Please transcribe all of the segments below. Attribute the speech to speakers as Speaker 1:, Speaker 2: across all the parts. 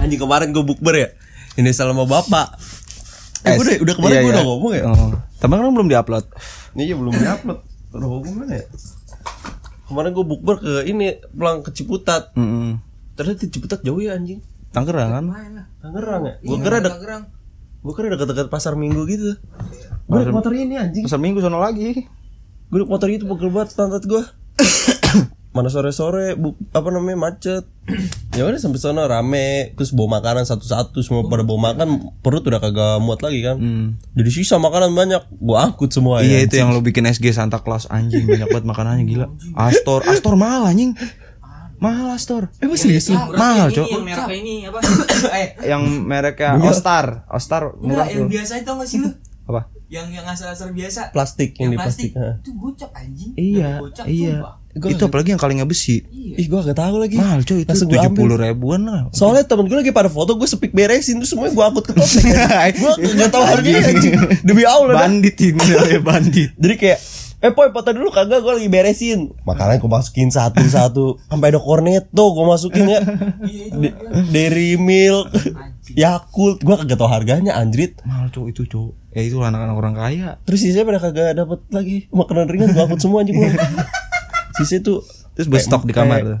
Speaker 1: anjing kemarin gue bukber ya ini sama bapak eh, gue udah, udah kemarin
Speaker 2: Iya,
Speaker 1: gue
Speaker 2: iya.
Speaker 1: udah ngomong ya
Speaker 2: Oh, teman kan belum diupload.
Speaker 1: ini aja belum diupload udah ngomong mana ya kemarin gue bukber ke ini pulang ke Ciputat
Speaker 2: Mm-mm.
Speaker 1: ternyata di Ciputat jauh ya anjing
Speaker 2: Tangerang kan?
Speaker 3: Main lah.
Speaker 1: Tangerang ya
Speaker 2: Iya,
Speaker 1: gue kira dek
Speaker 3: Tangerang.
Speaker 1: gue kira deket-deket pasar Minggu gitu gue naik motor ini anjing
Speaker 2: Pasar Minggu sono lagi.
Speaker 1: gue naik motor itu pegel banget pantat gue mana sore-sore bu- apa namanya macet ya udah sampai sana rame terus bawa makanan satu-satu semua pada bawa makan perut udah kagak muat lagi kan jadi sisa makanan banyak gue angkut semua
Speaker 2: Hmm. Iya
Speaker 1: ya
Speaker 2: itu yang lo bikin SG Santa Claus anjing banyak banget makanannya gila. Astor, Astor mahal anjing. Mahal Astor.
Speaker 1: eh masih
Speaker 3: Iya,
Speaker 1: serius lu?
Speaker 2: Mahal,
Speaker 3: Ini
Speaker 2: Cok.
Speaker 3: yang mereknya ini apa? eh,
Speaker 2: Yang mereknya Ostar, Ostar murah
Speaker 3: enggak yang
Speaker 2: tuh.
Speaker 3: biasa itu nggak sih lu?
Speaker 2: Apa?
Speaker 3: Yang yang asal-asal biasa.
Speaker 1: plastik yang di plastik, Heeh.
Speaker 3: Itu gocap anjing.
Speaker 2: Iya,
Speaker 3: Gocap,
Speaker 2: iya.
Speaker 3: sumpah.
Speaker 1: Gua
Speaker 2: Itu apalagi yang kalengnya besi.
Speaker 1: ih gue gak tahu lagi
Speaker 2: Mahal coy itu
Speaker 1: Langsung gua
Speaker 2: tujuh
Speaker 1: ambil.
Speaker 2: puluh ribuan lah.
Speaker 1: soalnya temen gue lagi pada foto gue sepik beresin terus semuanya gue angkut ke topeng gue gak tahu harganya anjing. demi allah dah.
Speaker 2: Bandit ini namanya bandit.
Speaker 1: Jadi kayak Eh poy foto dulu kagak gue lagi beresin Makanya gue masukin satu-satu Sampai ada cornetto gue masukin ya D- Dairy milk Yakult Gue kagak tau harganya anjrit
Speaker 2: Mahal coy itu coy. Ya itu anak-anak orang kaya.
Speaker 1: Terus sisanya pada kagak dapet lagi Makanan ringan gue akut semua anjing gue Sisanya tuh
Speaker 2: Terus buat stok di kamar tuh.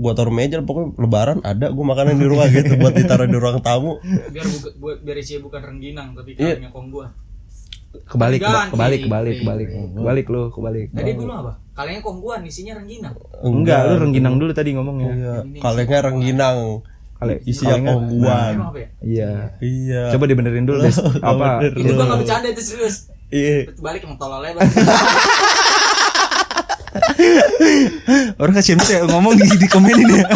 Speaker 1: Gue taruh meja pokoknya lebaran ada gue makanan di rumah gitu Buat ditaruh di ruang tamu
Speaker 2: iya.
Speaker 3: Biar buka, buat biar Ece bukan rengginang tapi
Speaker 1: Iya.
Speaker 3: kalau nyokong gua.
Speaker 2: Kebalik,
Speaker 3: Ganti.
Speaker 2: kebalik, kebalik, kebalik,
Speaker 3: Iya,
Speaker 2: kebalik lo, kebalik.
Speaker 3: Tadi dulu apa? Kalengnya kongguan, isinya rengginang.
Speaker 2: Enggak, lu rengginang dulu tadi ngomongnya.
Speaker 1: Iya Kalengnya rengginang
Speaker 2: Kale-
Speaker 1: Isinya
Speaker 2: kalengnya-
Speaker 1: kongguan
Speaker 3: Emang apa ya?
Speaker 2: Iya.
Speaker 1: Iya
Speaker 2: Coba dibenerin dulu deh apa Iya.
Speaker 1: bener.
Speaker 3: Itu gua nggak bercanda itu serius.
Speaker 1: Iya
Speaker 3: Balik emang tolol aja.
Speaker 2: orang kasihan banget ya ngomong di, di komen ini ya.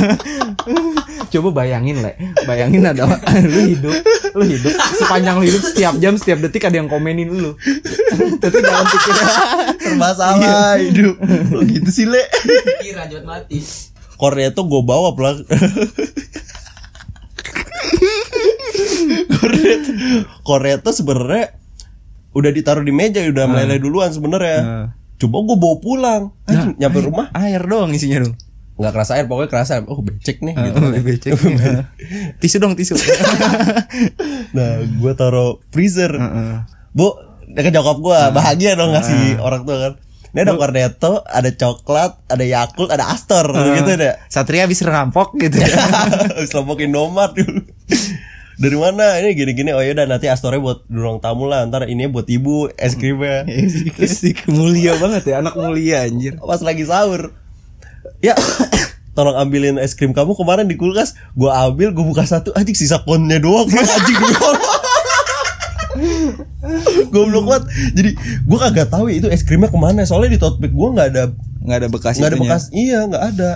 Speaker 2: Coba bayangin le, bayangin ada lu hidup, lu hidup sepanjang lu hidup setiap jam setiap detik ada yang komenin lu. Tapi dalam pikiran
Speaker 1: serba salah hidup lo gitu sih le
Speaker 3: Kira jawab mati.
Speaker 1: Cornetto gue bawa pulang Cornetto Cornetto sebenarnya udah ditaruh di meja udah meleleh duluan sebenarnya
Speaker 2: Hmm.
Speaker 1: coba gue bawa pulang Anjing, nyampe rumah
Speaker 2: air doang isinya dong.
Speaker 1: nggak kerasa air pokoknya kerasa oh becek nih gitu
Speaker 2: Gitu, becek. tisu dong tisu.
Speaker 1: nah gue taruh freezer
Speaker 2: Heeh.
Speaker 1: bu dekat nyokap gue bahagia dong ngasih orang tua kan ini ada cornetto ada coklat ada yakult ada astor
Speaker 2: Ah.
Speaker 1: gitu deh
Speaker 2: Eh, Satria habis rampok gitu ya.
Speaker 1: Habis lompokin nomad dulu. Dari mana ini gini-gini oh yaudah nanti astornya buat di ruang tamu lah ntar ini buat ibu es krimnya
Speaker 2: mulia banget ya, anak mulia anjir.
Speaker 1: pas lagi sahur ya tolong ambilin es krim kamu kemarin di kulkas gua ambil gua buka satu anjing sisa konnya doang Bang. anjing doang goblok banget jadi gua kagak tahu ya itu es krimnya kemana soalnya di tote bag gua nggak ada
Speaker 2: Nggak ada bekas
Speaker 1: nggak ada
Speaker 2: itunya.
Speaker 1: bekas iya nggak ada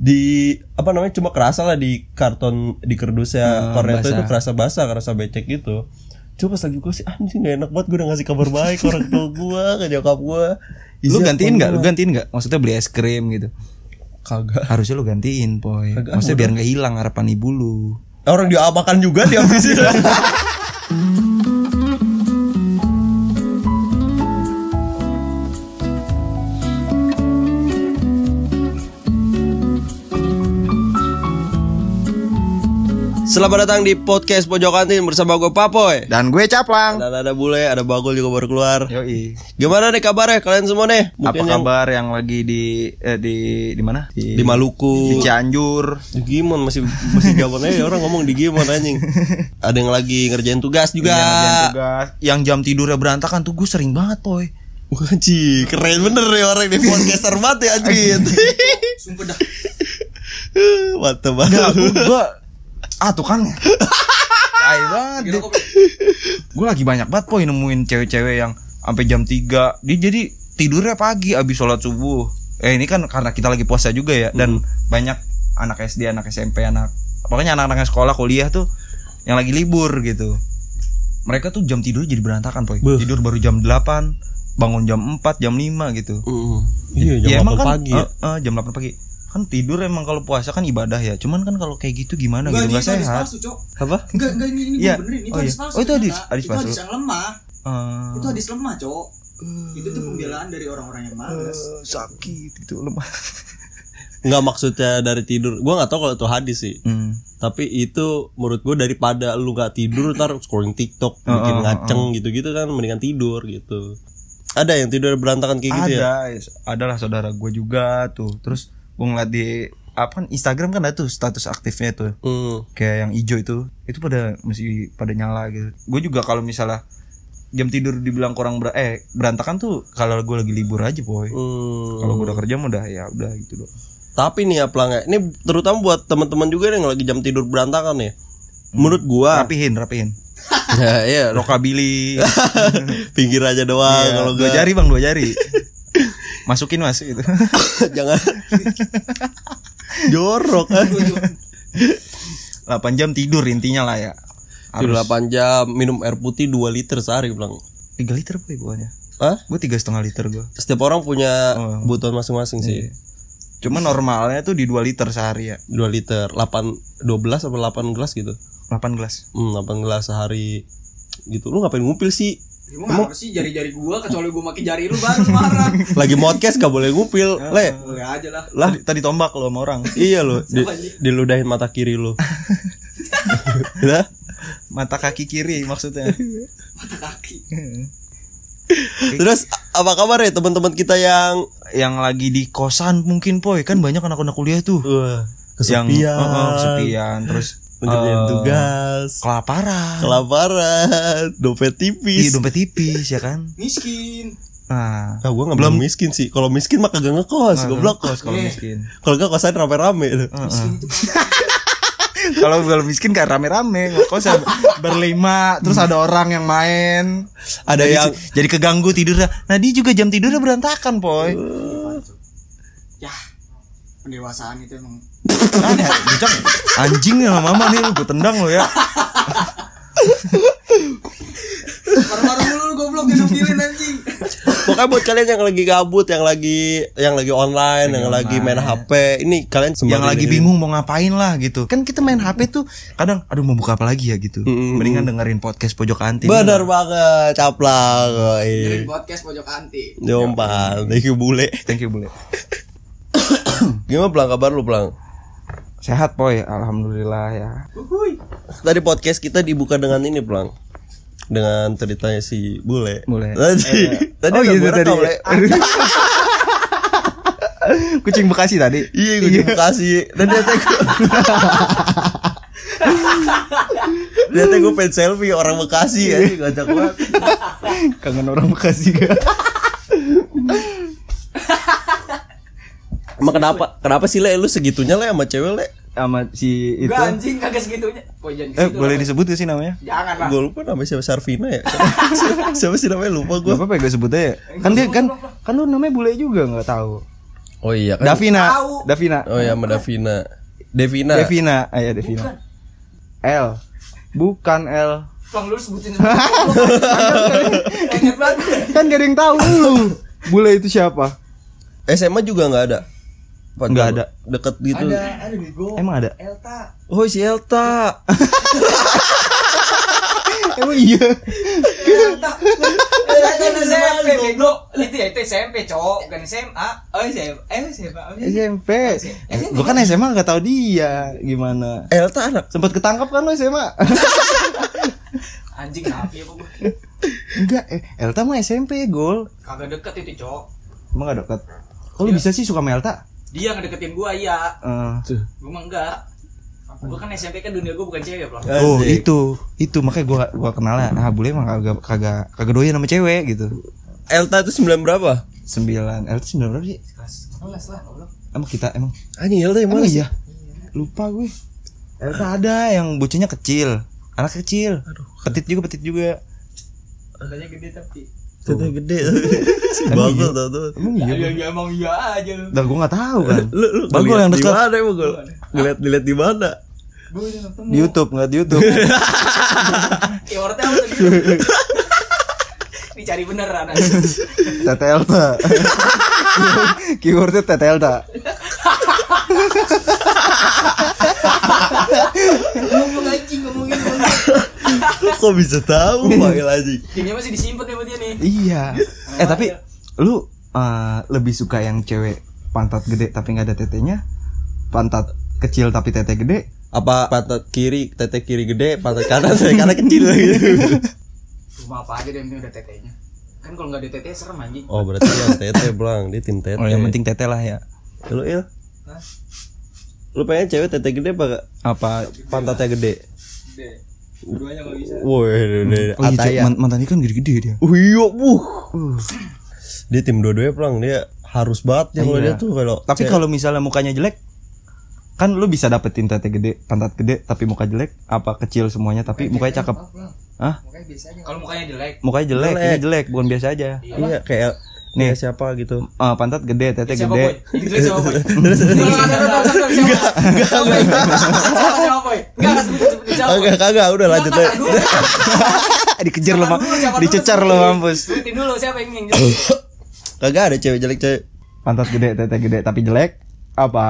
Speaker 1: di apa namanya cuma kerasa lah di karton di kerdusnya
Speaker 2: Ah,
Speaker 1: Cornetto
Speaker 2: basah.
Speaker 1: itu kerasa basah kerasa becek gitu coba pas lagi gue sih anjing gak enak banget gue udah ngasih kabar baik ke orang tua gue ke nyokap Iya, gue
Speaker 2: Lu gantiin nggak? Lu gantiin nggak? Maksudnya beli es krim gitu.
Speaker 1: kagak
Speaker 2: Harusnya lu gantiin, Poy.
Speaker 1: Kagak,
Speaker 2: Maksudnya biar nggak hilang harapan ibu lu.
Speaker 1: orang diapakan juga dihabisin Selamat datang di podcast Pojok Kantin bersama gue Papoy
Speaker 2: Dan gue caplang.
Speaker 1: Dan ada Bule, ada Bagul juga baru keluar
Speaker 2: Yoi.
Speaker 1: Gimana nih kabarnya kalian semua nih?
Speaker 2: Apa
Speaker 1: Mungkin yang
Speaker 2: kabar yang lagi di eh, di di mana?
Speaker 1: Di
Speaker 2: di
Speaker 1: Maluku
Speaker 2: Cianjur.
Speaker 1: Digimon masih masih jawabannya ya orang ngomong Digimon anjing Ada yang lagi ngerjain tugas juga
Speaker 2: Yang Iya, ngerjain tugas. Yang jam tidurnya berantakan tuh gue sering banget, Poy.
Speaker 1: Wah Ci, keren bener ya orang di podcaster banget ya anjing
Speaker 3: Sumpah dah.
Speaker 1: Mantap
Speaker 2: Enggak,
Speaker 1: banget
Speaker 2: gue Iya, ah tukangnya. Tai banget.
Speaker 3: Kira kok
Speaker 2: Gue lagi banyak banget, Poy, nemuin cewek-cewek yang sampai jam 3. Dia jadi tidurnya pagi abis sholat subuh. Eh ini kan karena kita lagi puasa juga ya dan banyak anak SD, anak SMP, anak pokoknya anak-anak yang sekolah, kuliah tuh yang lagi libur gitu. Mereka tuh jam tidur jadi berantakan, Poy.
Speaker 1: Beuh.
Speaker 2: Tidur baru jam 8, bangun jam 4, jam 5 gitu.
Speaker 1: Iya jam
Speaker 2: Ya,
Speaker 1: 8
Speaker 2: emang kan,
Speaker 1: pagi ya.
Speaker 2: eh, eh, jam 8 pagi. Kan tidur emang kalau puasa kan ibadah ya. Cuman kan kalau kayak gitu gimana gitu
Speaker 3: Enggak, ini
Speaker 2: enggak
Speaker 3: itu hadis
Speaker 2: sehat.
Speaker 3: palsu, Cok.
Speaker 1: Apa?
Speaker 3: Enggak, enggak ini ini
Speaker 2: Iya.
Speaker 3: gua benerin, itu
Speaker 2: Oh,
Speaker 3: hadis
Speaker 2: iya.
Speaker 3: palsu.
Speaker 2: Oh, itu hadis-
Speaker 3: ternyata.
Speaker 2: hadis
Speaker 3: Itu
Speaker 2: palsu.
Speaker 3: hadis yang lemah.
Speaker 2: Eh,
Speaker 3: Itu hadis lemah, Cok. Itu tuh pembelaan dari orang-orang yang malas.
Speaker 2: sakit gitu lemah.
Speaker 1: Enggak maksudnya dari tidur. Gua nggak tahu kalau itu hadis sih.
Speaker 2: Hmm.
Speaker 1: tapi itu menurut gue daripada lu nggak tidur ntar scrolling TikTok bikin ngaceng gitu-gitu kan mendingan tidur gitu ada yang tidur berantakan kayak gitu ya
Speaker 2: ada adalah saudara gue juga tuh terus gue ngeliat di apa kan Instagram kan ada tuh status aktifnya tuh
Speaker 1: hmm.
Speaker 2: kayak yang hijau itu itu pada mesti pada nyala gitu gue juga kalau misalnya jam tidur dibilang kurang ber eh berantakan tuh kalau gue lagi libur aja boy
Speaker 1: Hmm.
Speaker 2: kalau gue udah kerja mah udah ya udah gitu doang
Speaker 1: tapi nih ya pelanggan ini terutama buat teman-teman juga yang lagi jam tidur berantakan ya menurut gua
Speaker 2: rapihin rapihin
Speaker 1: ya, iya,
Speaker 2: rokabili
Speaker 1: pinggir aja doang kalau
Speaker 2: kalau
Speaker 1: gua
Speaker 2: dua jari bang dua jari masukin mas gitu
Speaker 1: jangan jorok kan
Speaker 2: 8 jam tidur intinya lah ya
Speaker 1: tidur 8 jam minum air putih 2 liter sehari bilang
Speaker 2: 3 liter boy bawahnya
Speaker 1: Hah?
Speaker 2: gue tiga setengah liter gue
Speaker 1: setiap orang punya
Speaker 2: Oh. Iya.
Speaker 1: kebutuhan masing-masing sih
Speaker 2: cuma normalnya tuh di 2 liter sehari ya
Speaker 1: 2 liter 8 12 atau 8 gelas gitu
Speaker 2: 8 gelas
Speaker 1: hmm, 8 gelas sehari gitu lu ngapain ngupil sih
Speaker 3: Ya, Emang apa sih jari-jari gua kecuali gua pakai jari lu baru marah.
Speaker 1: lagi podcast gak boleh ngupil le
Speaker 3: Boleh aja lah.
Speaker 2: lah tadi tombak lo sama orang
Speaker 1: iya lo di,
Speaker 3: Sama aja.
Speaker 1: diludahin mata kiri lu lah
Speaker 2: mata kaki kiri maksudnya
Speaker 3: Mata kaki.
Speaker 1: terus a- apa kabar ya teman-teman kita yang
Speaker 2: yang lagi di kosan mungkin poy kan banyak anak-anak kuliah tuh
Speaker 1: wah
Speaker 2: yang
Speaker 1: kesepian
Speaker 2: eh, eh, kesepian terus
Speaker 1: mengerjain
Speaker 2: eh,
Speaker 1: tugas
Speaker 2: kelaparan
Speaker 1: kelaparan dompet
Speaker 2: Iya,
Speaker 1: tipis
Speaker 2: dompet tipis ya kan
Speaker 3: Miskin.
Speaker 2: nah
Speaker 1: Nah, gue gak belum Nah, miskin sih. Kalau miskin mah kagak ngekos, goblok. Iya.
Speaker 2: kos kalau miskin
Speaker 1: Kalau gak kosan rame-rame.
Speaker 2: kalau kalau miskin kayak rame-rame kosan berlima terus ada orang yang main
Speaker 1: Ada
Speaker 2: jadi,
Speaker 1: yang
Speaker 2: jadi keganggu tidurnya nah dia juga jam tidurnya berantakan poy
Speaker 3: Ya. Pendewasaan itu emang
Speaker 2: Ah, nih, Bicak, anjing ya mama nih lu gue tendang lo ya
Speaker 3: Marah-marah mulu lu goblok ngedupilin anjing.
Speaker 1: pokoknya buat kalian yang lagi gabut, yang lagi yang lagi online, yang lagi main HP, ini kalian sembari
Speaker 2: yang lagi
Speaker 1: dengerin.
Speaker 2: bingung mau ngapain lah gitu kan kita main HP tuh kadang aduh mau buka apa lagi ya gitu mendingan dengerin podcast pojok kantin
Speaker 1: Bener banget, caplang. iya.
Speaker 3: Dengerin podcast pojok anti.
Speaker 1: Jompal, thank you bule.
Speaker 2: thank you boleh
Speaker 1: Gimana pelang kabar lu pelang?
Speaker 2: sehat poy alhamdulillah ya
Speaker 3: Uhuy.
Speaker 1: Tadi podcast kita dibuka dengan ini pelang dengan ceritanya si bule.
Speaker 2: Bule.
Speaker 1: Tadi, tadi Ah,
Speaker 2: oh
Speaker 1: udah
Speaker 2: gitu
Speaker 1: gua
Speaker 2: tadi
Speaker 1: rekam, Le.
Speaker 2: kucing bekasi tadi
Speaker 1: Iya, gue terima kasih. Dan dia teh gue, dia teh gue pengen selfie orang Bekasi ya, gocak banget.
Speaker 2: kangen orang bekasi kan
Speaker 1: Emang kenapa? Kenapa sih le? Lu segitunya le sama cewek le?
Speaker 2: sama si itu
Speaker 3: Gua anjing kagak segitunya. Oh, jangan
Speaker 2: Gitu.
Speaker 3: ke
Speaker 2: eh
Speaker 3: situ
Speaker 2: boleh
Speaker 3: lah.
Speaker 2: disebut gak sih namanya
Speaker 3: Jangan lah.
Speaker 1: Gue lupa namanya siapa Sarvina ya. Siapa, siapa sih namanya lupa gue.
Speaker 2: Gak apa-apa ya gue sebut aja Kan dia kan Kan lu namanya bule juga gak tahu
Speaker 1: Oh iya kan.
Speaker 2: Davina
Speaker 3: Tahu.
Speaker 2: Davina
Speaker 1: Oh iya sama Davina. Devina.
Speaker 2: Davina Ah iya Davina
Speaker 3: Kan,
Speaker 2: L Bukan L
Speaker 3: Bang lu sebutin semua. Ingat banget.
Speaker 2: Kan gak ada yang tahu lu Bule itu siapa
Speaker 1: SMA juga nggak ada. Apa
Speaker 2: Nggak
Speaker 1: dulu?
Speaker 2: ada.
Speaker 1: Deket gitu.
Speaker 3: ada bego.
Speaker 2: Emang ada
Speaker 3: Elta.
Speaker 1: Oh si Elta.
Speaker 2: Emang iya
Speaker 3: Elta. Elta itu SMP bego. Itu ya itu SMP, cowok, bukan SMA. Oh, SMA. Eh, SMA. Oh, iya.
Speaker 2: SMP Gue kan SMA gak tahu dia Gimana
Speaker 1: Elta anak.
Speaker 2: Sempet ketangkap kan lu SMA
Speaker 3: Anjing napi apa ya, gua?
Speaker 2: Enggak eh, Elta mah SMP gol
Speaker 3: Kagak deket itu, cowok.
Speaker 2: Emang gak deket Kok lu bisa sih suka sama Elta
Speaker 3: Dia ngedeketin gua iya.
Speaker 2: Eh,
Speaker 3: Gua mah enggak. Gua kan SMP kan dunia gua bukan cewek, Bro.
Speaker 2: Oh
Speaker 1: Asik.
Speaker 2: itu itu makanya gua gua kenalnya ah bule mah kagak kagak kagak doyan sama cewek gitu
Speaker 1: Elta itu sembilan berapa?
Speaker 2: sembilan eh itu sembilan berapa sih
Speaker 3: Kelas 11 lah, goblok.
Speaker 2: emang kita emang
Speaker 1: Anjing Elta yang
Speaker 2: emang
Speaker 1: mana sih?
Speaker 2: iya lupa gue Elsa ada yang bocahnya kecil anak kecil petit juga petit juga
Speaker 3: Katanya gede tapi.
Speaker 1: Elta gede. Si Bagol tau tuh.
Speaker 2: emang iya
Speaker 3: Ya, ya emang iya aja lu.
Speaker 2: Udah gua nggak tahu kan
Speaker 1: lu lu
Speaker 2: Bagol
Speaker 1: ngeliat
Speaker 2: yang
Speaker 1: di
Speaker 2: deket.
Speaker 1: mana emang gua ngeliat ngeliat di mana
Speaker 3: Gua udah ketemu.
Speaker 2: di YouTube nggak di YouTube
Speaker 3: Ya, orangnya apa tadi? Dicari beneran anjing.
Speaker 2: Tete Elta keywordnya Tete Elta
Speaker 3: Ngomong anjing ngomongin. ngomongin.
Speaker 1: kok bisa tahu panggil anjing
Speaker 3: Ini masih disimpan sama dia nih.
Speaker 2: iya eh tapi
Speaker 3: Iya.
Speaker 2: lu eh, lebih suka yang cewek pantat gede tapi nggak ada tetenya pantat kecil tapi tete gede
Speaker 1: apa pantat kiri tete kiri gede pantat kanan saya kanan kecil gitu
Speaker 3: Cuma apa aja deh ini udah tetenya. Kan kalau nggak ada tetenya serem anjing.
Speaker 1: oh berarti yang tete belang dia tim tete
Speaker 2: Oh,
Speaker 3: Iya.
Speaker 2: yang penting teteh lah ya.
Speaker 1: lu il
Speaker 3: Hah?
Speaker 1: lu pengen cewek tete gede apa nggak?
Speaker 2: Apa?
Speaker 1: pantatnya gede
Speaker 3: Gede. Keduanya kalau bisa.
Speaker 1: woi udah, udah, udah.
Speaker 2: Oh, iya,
Speaker 1: Ataya.
Speaker 2: cewek- man- mantan ini kan gede-gede dia.
Speaker 1: Oh iya, buh. Dia tim dua-duanya pelang dia harus banget ya kalau
Speaker 2: Iya.
Speaker 1: dia tuh kalau
Speaker 2: Tapi kalau misalnya mukanya jelek kan lu bisa dapetin tete gede, pantat gede tapi muka jelek, apa kecil semuanya tapi mukanya cakep. Hah?
Speaker 3: Mukanya biasa aja. Kalau mukanya jelek,
Speaker 2: Mukanya jelek, ini jelek, bukan biasa aja.
Speaker 1: iya kayak nih siapa gitu.
Speaker 2: Ah, pantat gede, tete
Speaker 3: siapa
Speaker 2: gede.
Speaker 3: boy? Itu siapa boy? Enggak, enggak. Siapa boy? Enggak, enggak sebut sebut siapa. Boy?
Speaker 1: Kagak kagak udah lanjut
Speaker 3: Enggak,
Speaker 1: aja.
Speaker 3: enggak, dulu.
Speaker 2: Dikejar lu,
Speaker 3: Siapa
Speaker 2: Mak.
Speaker 3: dulu, siapa dulu,
Speaker 2: dicecar lu
Speaker 3: sebutin.
Speaker 2: mampus.
Speaker 3: Sebutin dulu siapa yang yang jelek.
Speaker 1: Kagak ada cewek jelek cewek.
Speaker 2: Pantat gede, tete gede tapi jelek, apa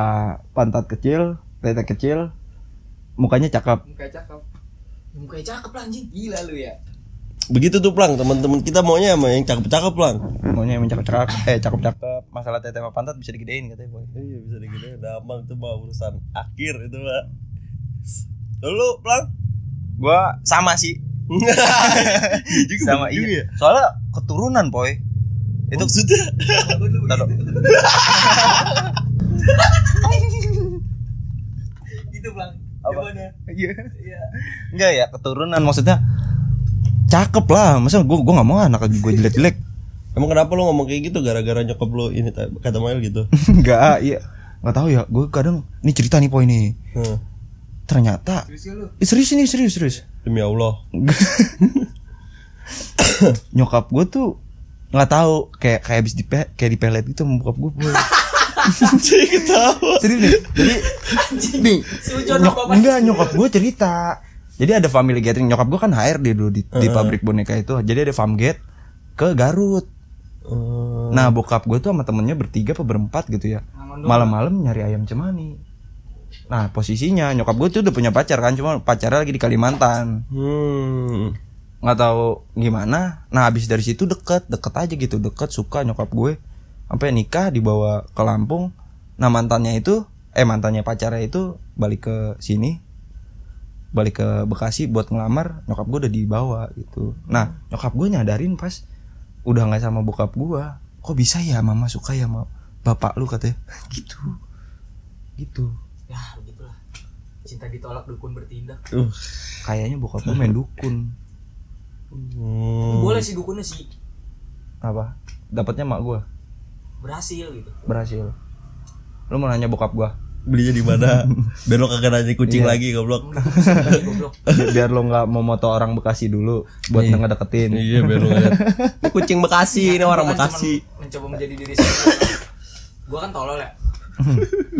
Speaker 2: pantat kecil, tete kecil, mukanya cakep.
Speaker 3: Mukanya cakep. Mukanya cakep lah anjing. Gila lu ya.
Speaker 1: Begitu tuh pelang teman-teman kita maunya sama yang cakep-cakep pelang.
Speaker 2: Maunya yang cakep-cakep, eh cakep-cakep. Masalah tete sama pantat bisa digedein katanya, Boy.
Speaker 1: Iya bisa digede damang itu mah urusan akhir itu mah. Dulu pelang.
Speaker 2: Gua sama sih.
Speaker 1: Juga
Speaker 2: sama
Speaker 1: bener juga
Speaker 2: iya.
Speaker 1: ya.
Speaker 2: Soalnya keturunan, Boy. Itu
Speaker 1: Maksudnya Oh,
Speaker 2: Taruh.
Speaker 3: Gitu bang.
Speaker 2: Apa?
Speaker 3: Gimana?
Speaker 2: Iya.
Speaker 3: Iya.
Speaker 2: Enggak ya, keturunan maksudnya cakep lah. Masa gua gua nggak mau anak gua jelek-jelek.
Speaker 1: Emang kenapa lo ngomong kayak gitu gara-gara nyokap lo ini ta- kata Mail gitu?
Speaker 2: Enggak, iya. Enggak tahu ya, gua kadang ini cerita nih poin nih.
Speaker 1: Hah,
Speaker 2: Ternyata
Speaker 3: Terus ya lu.
Speaker 2: Eh, serius ini serius serius.
Speaker 1: Demi Allah.
Speaker 2: Nyokap gua tuh nggak tahu kayak kayak habis di kayak dipelet gitu sama bokap gua. Boy.
Speaker 1: Cih ketawa.
Speaker 2: Serius nih. Jadi nih,
Speaker 3: Sujud
Speaker 2: nyok-
Speaker 3: sama bapak.
Speaker 2: enggak nyokap gue cerita. Jadi ada family gathering. Nyokap gue kan HRD dulu di, di pabrik boneka itu. Jadi ada famgate ke Garut.
Speaker 1: Eh,
Speaker 2: Nah bokap gue tuh sama temennya bertiga apa berempat gitu ya.
Speaker 3: Ngangon doang.
Speaker 2: Malam-malam nyari ayam cemani. Nah posisinya nyokap gue tuh udah punya pacar kan, cuma pacarnya lagi di Kalimantan.
Speaker 1: Hmm.
Speaker 2: Nggak tahu gimana. Nah habis dari situ deket, deket aja gitu, deket suka nyokap gue. Sampai nikah dibawa ke Lampung. Nah mantannya itu, eh mantannya pacarnya itu balik ke sini, balik ke Bekasi buat ngelamar. Nyokap gue udah dibawa gitu. Nah nyokap gue nyadarin pas udah nggak sama bokap gue. Kok bisa ya mama suka ya sama bapak lu katanya gitu gitu
Speaker 3: Ya begitulah. Cinta ditolak dukun bertindak.
Speaker 1: Uh.
Speaker 2: kayaknya bokap gue main dukun
Speaker 1: Hmm.
Speaker 3: Boleh sih dukunnya sih
Speaker 2: apa dapatnya mak gue
Speaker 3: berhasil gitu.
Speaker 2: berhasil lu mau nanya bokap gua
Speaker 1: belinya di mana biar lo kagak nanya kucing
Speaker 2: Iya.
Speaker 1: lagi goblok
Speaker 3: Lagi goblok.
Speaker 2: Bi- biar lo nggak mau moto orang Bekasi dulu buat
Speaker 1: Iya.
Speaker 2: ngedeketin
Speaker 1: iya biar lo ini kucing Bekasi ini orang
Speaker 3: Gua kan
Speaker 1: Bekasi
Speaker 3: cuman mencoba menjadi diri sendiri. gua kan tolol ya.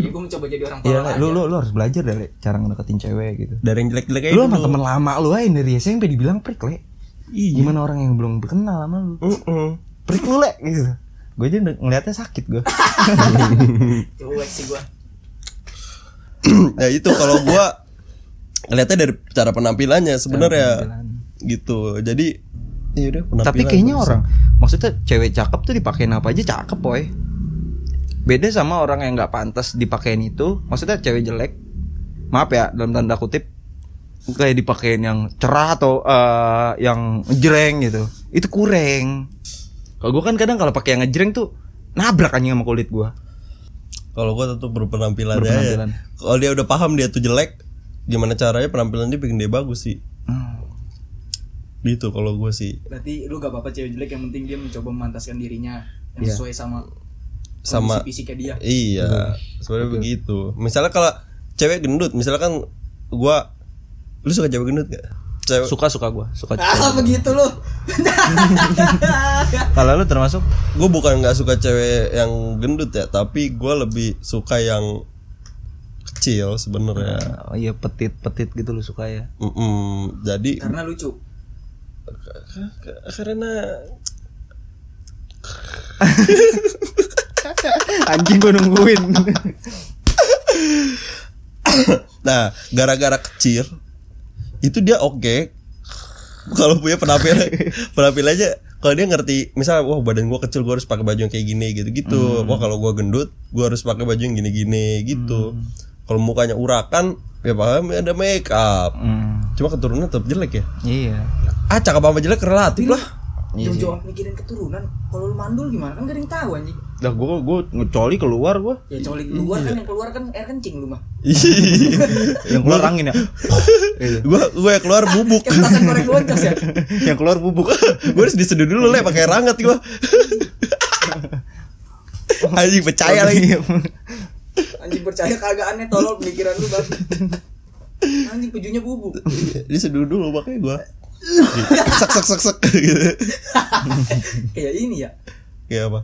Speaker 3: ya gua mencoba jadi orang
Speaker 2: iya
Speaker 3: tolol.
Speaker 2: Le,
Speaker 3: aja.
Speaker 2: lu, lu lu harus belajar dari cara ngedeketin cewek gitu
Speaker 1: dari yang jelek-jelek aja
Speaker 2: lu sama
Speaker 1: dulu.
Speaker 2: temen lama lu aja dari SMP dibilang prik le
Speaker 1: iya
Speaker 2: gimana orang yang belum kenal sama lu
Speaker 1: Mm-mm.
Speaker 2: prik lu le gitu gue aja ng- ngeliatnya sakit gue
Speaker 3: Cuek sih gua.
Speaker 1: nah itu kalau gua kelihatnya dari cara penampilannya sebenarnya gitu jadi ya udah penampilan
Speaker 2: tapi kayaknya
Speaker 1: bagus.
Speaker 2: orang maksudnya cewek cakep tuh dipakein apa aja cakep boy beda sama orang yang nggak pantas dipakein itu maksudnya cewek jelek maaf ya dalam tanda kutip kayak dipakein yang cerah atau eh, yang jreng gitu itu kurang kalau gue kan kadang kalau pakai yang ngejreng tuh nabrak anjing sama kulit gue
Speaker 1: kalau gua tentu berpenampilan,
Speaker 2: Berpenampilan.
Speaker 1: aja kalau dia udah paham dia tuh jelek gimana caranya penampilan dia bikin dia bagus sih
Speaker 2: Hmm.
Speaker 1: gitu kalau gua sih
Speaker 3: Berarti lu gak apa-apa cewek jelek yang penting dia mencoba memantaskan dirinya yang
Speaker 2: Iya.
Speaker 3: sesuai sama
Speaker 1: Sama-
Speaker 3: kondisi fisiknya dia.
Speaker 2: Ya.
Speaker 1: Iya, sebenarnya begitu. Misalnya kalau cewek gendut, misalkan gua lu suka cewek gendut gak? Cewek
Speaker 2: suka suka gue suka
Speaker 3: Ah begitu lu.
Speaker 2: kalau lu termasuk
Speaker 1: gua bukan nggak suka cewek yang gendut ya, tapi gua lebih suka yang kecil sebenarnya.
Speaker 2: oh iya petit petit gitu lu suka ya
Speaker 1: Mm-mm. Jadi
Speaker 3: Karena lucu.
Speaker 1: k- k- karena
Speaker 2: anjing gue nungguin
Speaker 1: nah, gara-gara kecil itu dia oke. Kalau punya penampilan penampilan aja kalau dia ngerti misalnya wah badan gua kecil gua harus pakai baju yang kayak gini gitu-gitu. Wah kalau gua gendut gua harus pakai baju yang gini-gini gitu. Kalau mukanya urakan ya paham ada make up cuma keturunan tetap jelek ya
Speaker 2: Hmm, Iya.
Speaker 1: ah cakep apa jelek relatif lah Iya
Speaker 3: Jauh-jauh mikirin keturunan. Kalau lu mandul gimana? Kan gak ada yang tahu anjing.
Speaker 2: Dah gua gua ngecoli keluar gua.
Speaker 3: Ya colik
Speaker 1: Iya.
Speaker 3: keluar kan yang keluar kan air kencing lu mah.
Speaker 2: Yang keluar angin ya. Iya.
Speaker 1: gua gue keluar bubuk
Speaker 3: Kayak Kan petasan korek loncos ya.
Speaker 2: yang keluar bubuk.
Speaker 1: gue harus diseduh dulu lah pakai rangat gua anjing percaya
Speaker 2: Iya.
Speaker 1: lagi
Speaker 3: Anjing percaya kagak aneh tolol pemikiran lu bang. Anjing pejunya bubuk.
Speaker 1: diseduh dulu pakai gua sak sak sak sak gitu
Speaker 3: Kayak ini ya.
Speaker 1: kayak apa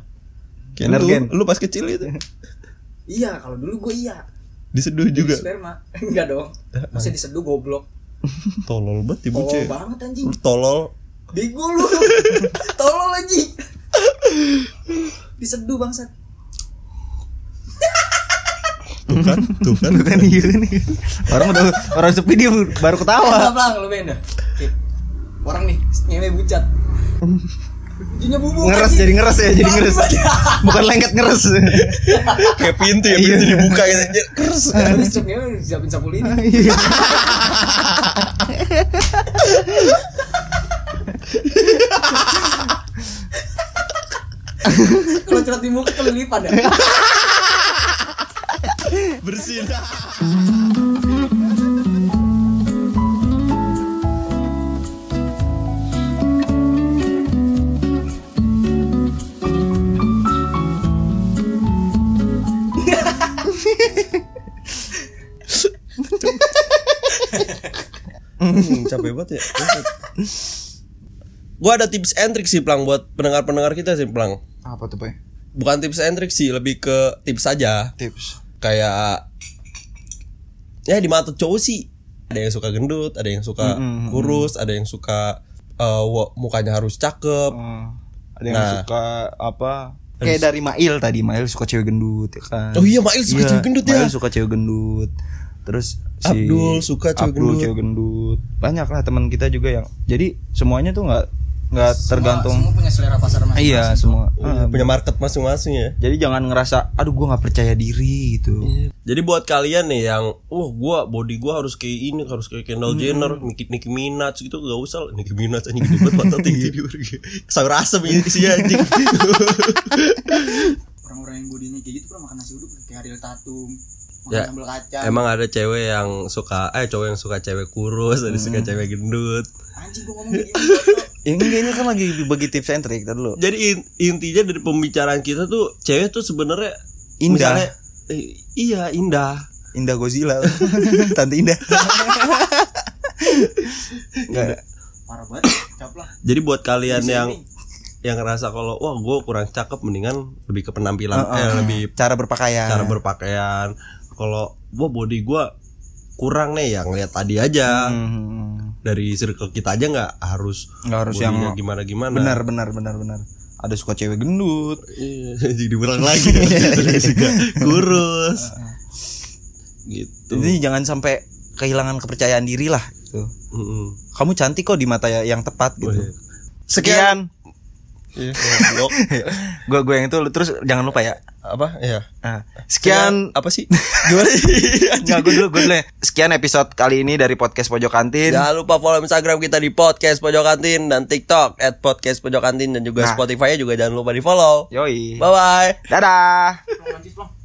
Speaker 1: kayak
Speaker 2: Energen.
Speaker 1: lu, lu pas kecil itu
Speaker 3: Iya, kalau dulu gue iya.
Speaker 1: diseduh
Speaker 3: Jadi
Speaker 1: juga
Speaker 3: sperma. Enggak dong. Masih diseduh goblok.
Speaker 1: tolol banget ibu
Speaker 3: Tolol
Speaker 1: cewek
Speaker 3: banget anjing.
Speaker 1: Lu tolol
Speaker 3: Bego lu. Tolol anjing. Diseduh bangsat.
Speaker 1: tuh kan tuh kan
Speaker 2: Bukan iya nih. Orang udah orang sepi dia baru ketawa.
Speaker 3: Pelan pelan lu benda. Oke. Orang nih ngewe bucat. Pejunya bubuk. kan
Speaker 2: Ngeres
Speaker 3: anjing.
Speaker 2: jadi ngeres ya, jadi
Speaker 3: Bangsat.
Speaker 2: ngeres. Bukan lengket ngeres.
Speaker 1: kayak pintu ya pintu
Speaker 2: Iya.
Speaker 1: dibuka gitu Kers.
Speaker 3: Terus cep ngewe disiapin sapu lidi.
Speaker 2: Iya.
Speaker 3: Kalau cerat di muka kelilipan ya.
Speaker 1: bersih Hmm, capek banget ya Gua ada tips and trick sih Plang Buat pendengar-pendengar kita sih Plang
Speaker 2: Apa tuh, Pak?
Speaker 1: Bukan tips and trick sih Lebih ke tips aja
Speaker 2: Tips.
Speaker 1: kayak ya di mata cowok sih ada yang suka gendut ada yang suka kurus ada yang suka eh, wa- mukanya harus cakep
Speaker 2: Hmm. ada yang
Speaker 1: Nah.
Speaker 2: suka apa? Kayak dari Mail tadi, Mail suka cewek gendut ya kan.
Speaker 1: Oh iya, Mail suka cewek gendut ya.
Speaker 2: Mail suka cewek gendut. Terus si
Speaker 1: Abdul suka cewek
Speaker 2: Abdul
Speaker 1: gendut.
Speaker 2: cewek gendut. Banyak lah teman kita juga yang. Jadi semuanya tuh nggak nggak tergantung.
Speaker 3: Semua punya selera pasar masing.
Speaker 2: iya semua. Ah,
Speaker 1: punya market masing-masing ya
Speaker 2: Jadi jangan ngerasa, aduh gua nggak percaya diri gitu.
Speaker 1: jadi buat kalian nih yang oh gua body gua harus kayak ini harus kayak Kendall Jenner Nicki Nicki Minaj gitu gak usah lah. Nicki Minaj anjing gitu banget pantat yang tidur sayur asem ini isinya anjing
Speaker 3: Orang-orang yang bodinya kayak gitu pernah makan nasi uduk kayak Ariel Tatum. Makan
Speaker 1: Ya,
Speaker 3: sambal kacang.
Speaker 1: emang ada cewek yang suka eh cowok yang suka cewek kurus ada yang suka cewek gendut
Speaker 3: Anjing gua ngomong kayak gitu.
Speaker 2: Ya enggak, ini kan lagi dibagi tips and trick Ntar dulu.
Speaker 1: jadi in- intinya dari pembicaraan kita tuh cewek tuh sebenarnya
Speaker 2: Indah.
Speaker 1: misalnya, eh, iya indah
Speaker 2: Indah Godzilla. Tante Indah. Enggak.
Speaker 3: Parah banget. Cap lah.
Speaker 1: jadi buat kalian
Speaker 3: Bisa
Speaker 1: yang
Speaker 3: ini.
Speaker 1: yang ngerasa kalau wah gue kurang cakep mendingan lebih ke penampilan eh, lebih
Speaker 2: Cara berpakaian.
Speaker 1: cara berpakaian kalau wah body gue kurang nih yang lihat tadi aja
Speaker 2: Mhm.
Speaker 1: dari circle kita aja nggak harus
Speaker 2: Nggak harus yang
Speaker 1: gimana gimana
Speaker 2: benar benar benar benar. Ada suka cewek gendut.
Speaker 1: Iya, jadi diulang lagi Terus juga kurus gitu
Speaker 2: Jadi jangan sampai kehilangan kepercayaan diri lah gitu.
Speaker 1: Mm-mm.
Speaker 2: Kamu cantik kok di mata yang tepat
Speaker 1: Oh,
Speaker 2: gitu.
Speaker 1: iya.
Speaker 2: Sekian.
Speaker 1: Iya, goblok.
Speaker 2: Gue gue yang itu terus jangan lupa ya.
Speaker 1: apa ya
Speaker 2: Nah, sekian
Speaker 1: apa sih Iya, gimana sih?
Speaker 2: Nggak, gue dulu, gue dulu ya. Sekian episode kali ini dari podcast Pojok Kantin.
Speaker 1: Jangan lupa follow Instagram kita di podcast pojok kantin dan TikTok at podcast pojok kantin dan juga
Speaker 2: Nah.
Speaker 1: Spotify-nya juga jangan lupa di follow.
Speaker 2: Yoi.
Speaker 1: Bye bye.
Speaker 2: Dadah.
Speaker 3: Romantis lah.